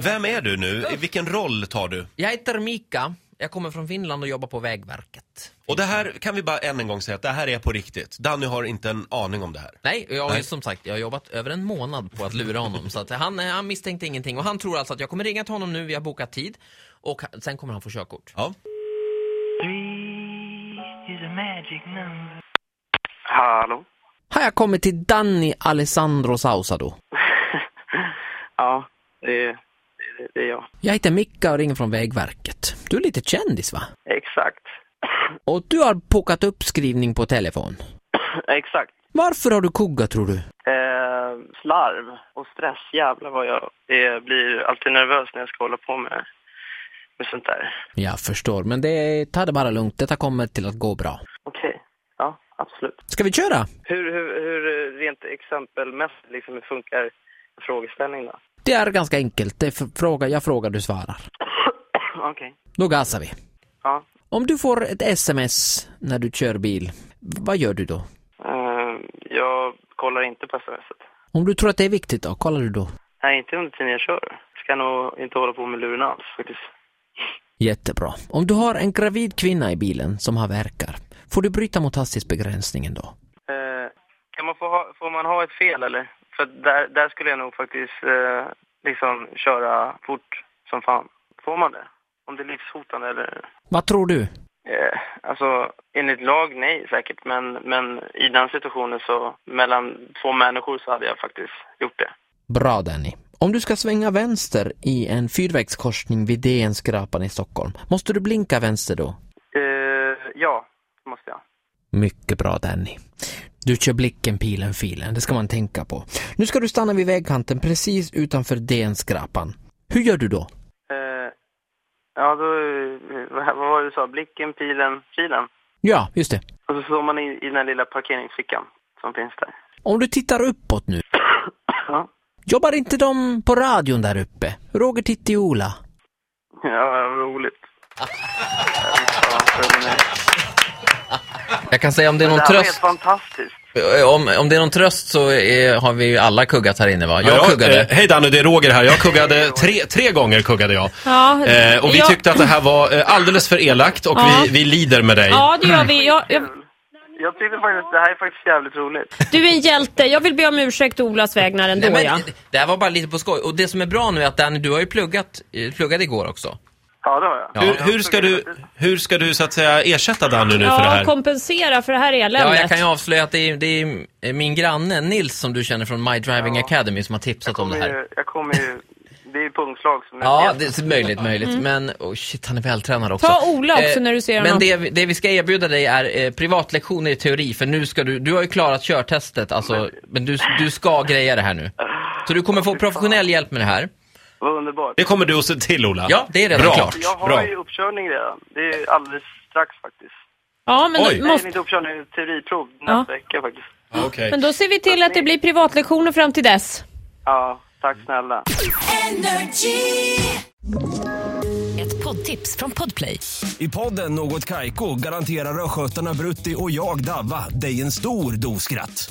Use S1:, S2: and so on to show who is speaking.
S1: Vem är du nu? I vilken roll tar du?
S2: Jag heter Mika. Jag kommer från Finland och jobbar på Vägverket.
S1: Och det här kan vi bara än en gång säga att det här är på riktigt. Danny har inte en aning om det här.
S2: Nej, jag, har ju
S1: Nej.
S2: som sagt, jag har jobbat över en månad på att lura honom. så att han, han misstänkte ingenting. Och han tror alltså att jag kommer ringa till honom nu, vi har bokat tid. Och han- sen kommer han få körkort.
S1: Ja.
S3: Three is a magic number. Hallå?
S2: Har jag kommit till Danny Alessandro Sausado?
S3: ja, det är, det, det är jag.
S2: Jag heter Micka och ringer från Vägverket. Du är lite kändis va?
S3: Exakt.
S2: Och du har bokat uppskrivning på telefon.
S3: Exakt.
S2: Varför har du kugga tror du?
S3: Eh, slarv och stress, jävlar vad jag eh, blir alltid nervös när jag ska hålla på med, med sånt där.
S2: Jag förstår, men det, ta det bara lugnt. Detta kommer till att gå bra.
S3: Okej, ja, absolut.
S2: Ska vi köra?
S3: Hur, hur, hur eh, rent exempelmässigt liksom, hur funkar frågeställningen då?
S2: Det är ganska enkelt. Det är f- fråga, jag frågar, du svarar.
S3: Okej,
S2: Då gasar vi.
S3: ja.
S2: Om du får ett sms när du kör bil, vad gör du då?
S3: Eh, jag kollar inte på smset.
S2: Om du tror att det är viktigt då, kollar du då?
S3: Nej, inte under tiden jag kör. Ska nog inte hålla på med luren alls faktiskt.
S2: Jättebra. Om du har en gravid kvinna i bilen som har verkar, får du bryta mot hastighetsbegränsningen då?
S3: Eh, kan man få ha, får man ha ett fel eller? För där, där skulle jag nog faktiskt eh, liksom köra fort som fan. Får man det? Om det är livshotande eller?
S2: Vad tror du?
S3: Eh, alltså enligt lag nej säkert men, men i den situationen så mellan två människor så hade jag faktiskt gjort det.
S2: Bra Danny. Om du ska svänga vänster i en fyrvägskorsning vid DN-skrapan i Stockholm, måste du blinka vänster då?
S3: Eh, ja, det måste jag.
S2: Mycket bra Danny. Du kör blicken, pilen, filen. Det ska man tänka på. Nu ska du stanna vid vägkanten precis utanför DN-skrapan. Hur gör du då?
S3: Eh, ja då, eh, vad, vad var det du sa? Blicken, pilen, filen?
S2: Ja, just det.
S3: Och så står man i, i den här lilla parkeringsfickan som finns där.
S2: Om du tittar uppåt nu,
S3: Ja,
S2: jobbar inte de på radion där uppe? Roger Tittiola?
S3: ja vad roligt. Ja, för mig.
S2: Jag kan säga om det är
S3: Det
S2: någon
S3: här var helt
S2: tröst,
S3: fantastiskt.
S2: om, om det är någon tröst så är, har vi ju alla kuggat här inne va? Jag
S1: Ja, eh,
S2: kuggade.
S1: hej Danny, det är Roger här. Jag kuggade tre, tre gånger kuggade jag.
S4: Ja,
S1: Eh, och vi
S4: jag-
S1: tyckte att det här var eh, alldeles för elakt och
S4: Ja.
S1: vi, vi lider med dig.
S4: Ja, det gör vi. Jag, jag,
S3: Jag tyckte faktiskt det här är faktiskt jävligt roligt.
S4: du är en hjälte. Jag vill be om ursäkt å Olas vägnar ändå.
S2: Nej, men,
S4: ja.
S2: det- Det här var bara lite på skoj. Och det som är bra nu är att Danny, du har ju pluggat, eh, pluggade igår också.
S3: Ja, det har jag.
S1: Hur, hur, ska du, hur ska du så att säga ersätta Danny nu för det här?
S4: kompensera för det här eländet.
S2: Ja, jag kan ju avslöja att det är, det är eh, min granne Nils som du känner från My Driving Academy som har tipsat om det
S3: Kommer
S2: här.
S3: ju, jag kommer ju... Det är ju pungslag som
S2: Ja,
S3: jag
S2: det är möjligt, möjligt. Men oh shit, han är vältränad också.
S4: Mm.
S2: Eh,
S4: Ta Ola också när du ser
S2: Men
S4: honom.
S2: det, vi- det vi ska erbjuda dig är eh, privatlektioner i teori, för nu ska du, du har ju klarat körtestet, alltså, men du, du ska greja det här nu. Så du kommer få professionell hjälp med det här.
S3: Vad underbart.
S1: Det kommer du att se till Ola.
S2: Ja, det är redan
S1: Bra.
S2: klart.
S3: Jag har
S1: Bra.
S3: ju uppkörning redan. Det är ju alldeles strax faktiskt.
S4: Ja, men,
S1: Oj.
S4: då,
S3: Nej,
S4: måste,
S3: inte uppkörning, det är teoriprov nästa vecka faktiskt.
S1: Ja, okej.
S4: men då ser vi till att det blir privatlektioner fram till dess.
S3: Ja, tack snälla.
S5: Ett poddtips från Podplay.
S6: I podden Något Kaiko garanterar östgötarna Brutti och jag, Davva, dig en stor dos skratt.